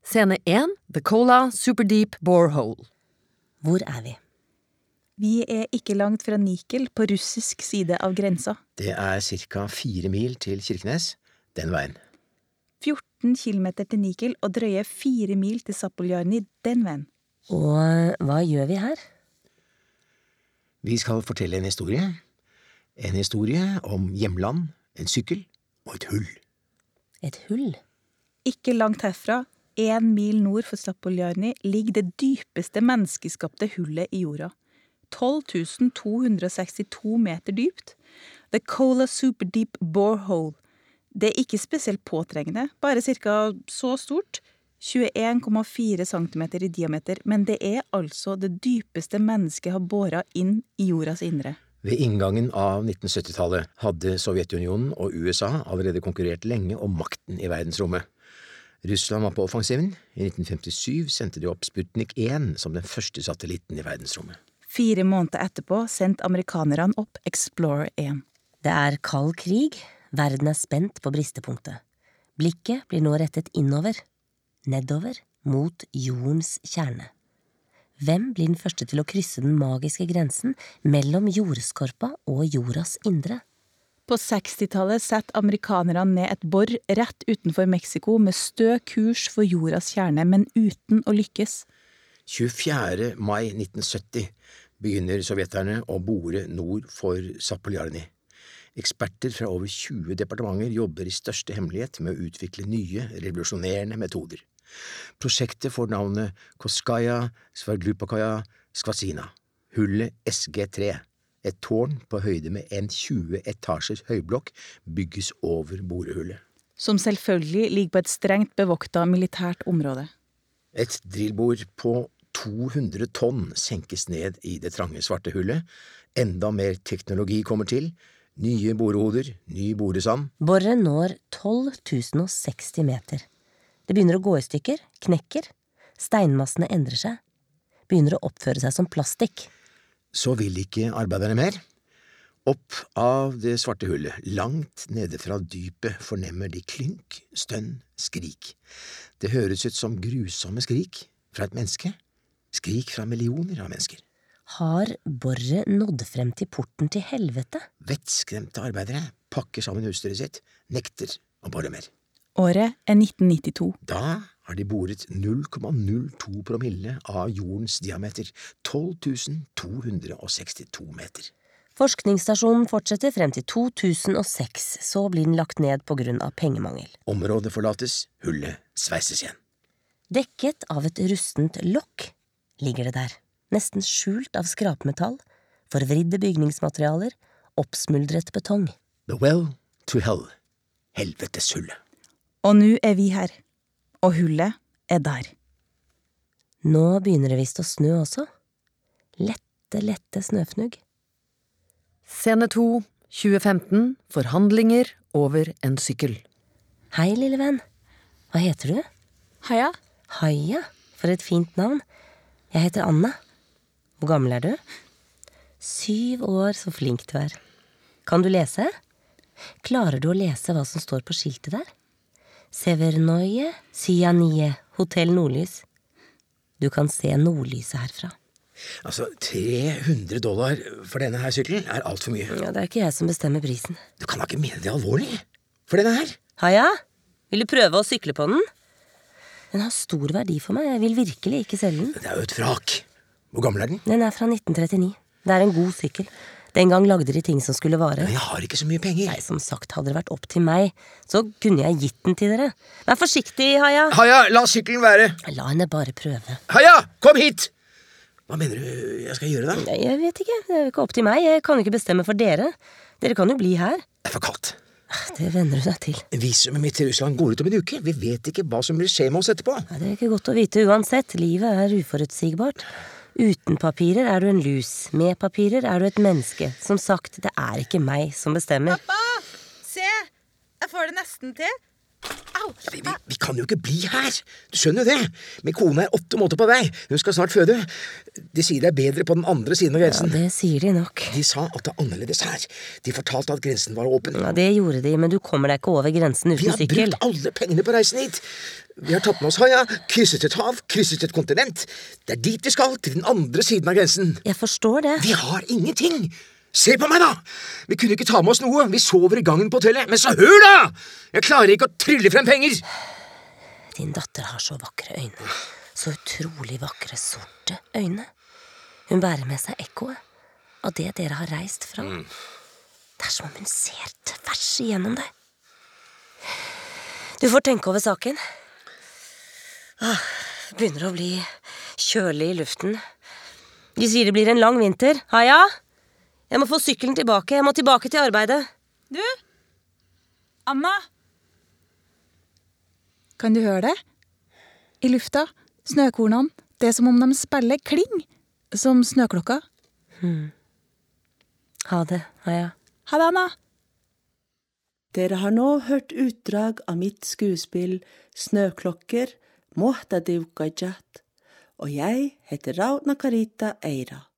Scene 1 The Cola Superdeep Borehole. Hvor er vi? Vi er ikke langt fra Nikel, på russisk side av grensa. Det er ca. fire mil til Kirkenes den veien. 14 km til Nikel og drøye fire mil til Zapoljarny den veien. Og hva gjør vi her? Vi skal fortelle en historie. En historie om hjemland, en sykkel og et hull. Et hull? Ikke langt herfra, én mil nord for Zapoljarny, ligger det dypeste menneskeskapte hullet i jorda. 12 262 meter dypt. The Cola Superdeep Borehole. Det er ikke spesielt påtrengende, bare ca. så stort. 21,4 cm i diameter, men det er altså det dypeste mennesket har båra inn i jordas indre. Ved inngangen av 1970-tallet hadde Sovjetunionen og USA allerede konkurrert lenge om makten i verdensrommet. Russland var på offensiven. I 1957 sendte de opp Sputnik 1 som den første satellitten i verdensrommet. Fire måneder etterpå sendte amerikanerne opp Explorer 1. Det er kald krig. Verden er spent på bristepunktet. Blikket blir nå rettet innover. Nedover, mot jordens kjerne. Hvem blir den første til å krysse den magiske grensen mellom jordskorpa og jordas indre? På 60-tallet setter amerikanerne ned et bor rett utenfor Mexico med stø kurs for jordas kjerne, men uten å lykkes. 24. mai 1970 begynner sovjeterne å bore nord for Zapoljarny. Eksperter fra over 20 departementer jobber i største hemmelighet med å utvikle nye, revolusjonerende metoder. Prosjektet får navnet Koskaja Svarglupakaja Skvasina, hullet SG3. Et tårn på høyde med en 20 etasjers høyblokk bygges over borehullet. Som selvfølgelig ligger på et strengt bevokta militært område. Et drillbord på 200 tonn senkes ned i det trange, svarte hullet. Enda mer teknologi kommer til. Nye borehoder, ny boresand. Boret når 12 060 meter. Det begynner å gå i stykker, knekker. Steinmassene endrer seg. Begynner å oppføre seg som plastikk. Så vil ikke arbeiderne mer. Opp av det svarte hullet, langt nede fra dypet, fornemmer de klynk, stønn, skrik. Det høres ut som grusomme skrik fra et menneske. Skrik fra millioner av mennesker. Har boret nådd frem til porten til helvete? Vettskremte arbeidere pakker sammen husdyret sitt, nekter å bore mer. Året er 1992. Da har de boret 0,02 promille av jordens diameter, 12 262 meter. Forskningsstasjonen fortsetter frem til 2006, så blir den lagt ned på grunn av pengemangel. Området forlates, hullet sveises igjen. Dekket av et rustent lokk ligger det der, nesten skjult av skrapmetall, forvridde bygningsmaterialer, oppsmuldret betong. The well to hell. Helvetes hullet. Og nå er vi her. Og hullet er der. Nå begynner det visst å snø også. Lette, lette snøfnugg. Scene 2, 2015, forhandlinger over en sykkel. Hei, lille venn. Hva heter du? Heia. Haia. For et fint navn. Jeg heter Anna. Hvor gammel er du? Syv år, så flink du er. Kan du lese? Klarer du å lese hva som står på skiltet der? Severnoye, Cyanie, Hotell Nordlys. Du kan se nordlyset herfra. Altså, 300 dollar for denne her sykkelen er altfor mye. Ja, det er ikke jeg som bestemmer prisen. Du kan da ikke mene det alvorlig? For denne her? Haia, vil du prøve å sykle på den? Den har stor verdi for meg, jeg vil virkelig ikke selge den. Det er jo et vrak. Hvor gammel er den? Den er fra 1939. Det er en god sykkel. Den gang lagde de ting som skulle vare. Men jeg har ikke så mye penger. Nei, som sagt, hadde det vært opp til meg, så kunne jeg gitt den til dere. Vær forsiktig, Haia. Haja, la sykkelen være. La henne bare prøve. Haja, kom hit! Hva mener du jeg skal gjøre, da? Nei, Jeg vet ikke, det er jo ikke opp til meg. Jeg kan jo ikke bestemme for dere. Dere kan jo bli her. Ah, Det er for kaldt. Det venner du deg til. Visumet mitt til Russland går ut om en uke. Vi vet ikke hva som vil skje med oss etterpå. Nei, Det er ikke godt å vite uansett. Livet er uforutsigbart. Uten papirer er du en lus. Med papirer er du et menneske. Som sagt, det er ikke meg som bestemmer. Pappa! Se! Jeg får det nesten til. Jeg Vi, vi, vi kan jo ikke bli her! Du skjønner jo det! Min kone er åtte måneder på vei. Hun skal snart føde. De sier det er bedre på den andre siden av Ja, grensen. det sier de nok. De sa at det er annerledes her. De fortalte at grensen var åpen. Ja, det gjorde de, men du kommer deg ikke over grensen Vi uten har sykkel. brukt alle pengene på reisen hit. Vi har tatt med oss haia, krysset et hav, krysset et kontinent. Det er dit vi skal, til den andre siden av grensen. Jeg forstår det. Vi har ingenting! Se på meg, da! Vi kunne ikke ta med oss noe. Vi sover i gangen på hotellet. Men så hør, da! Jeg klarer ikke å trylle frem penger! Din datter har så vakre øyne. Så utrolig vakre sorte øyne. Hun bærer med seg ekkoet av det dere har reist fra. Det er som om hun ser tvers igjennom deg. Du får tenke over saken. Ah, det begynner å bli kjølig i luften. De sier det blir en lang vinter. Haya, jeg må få sykkelen tilbake. Jeg må tilbake til arbeidet. Du? Anna? Kan du høre det? I lufta, snøkornene, det er som om de spiller kling, som snøklokka. Ha det, Haya. Ha det, Anna. Dere har nå hørt utdrag av mitt skuespill Snøklokker, Muhtadiv Gajat, og jeg heter Rauna Karita Eira.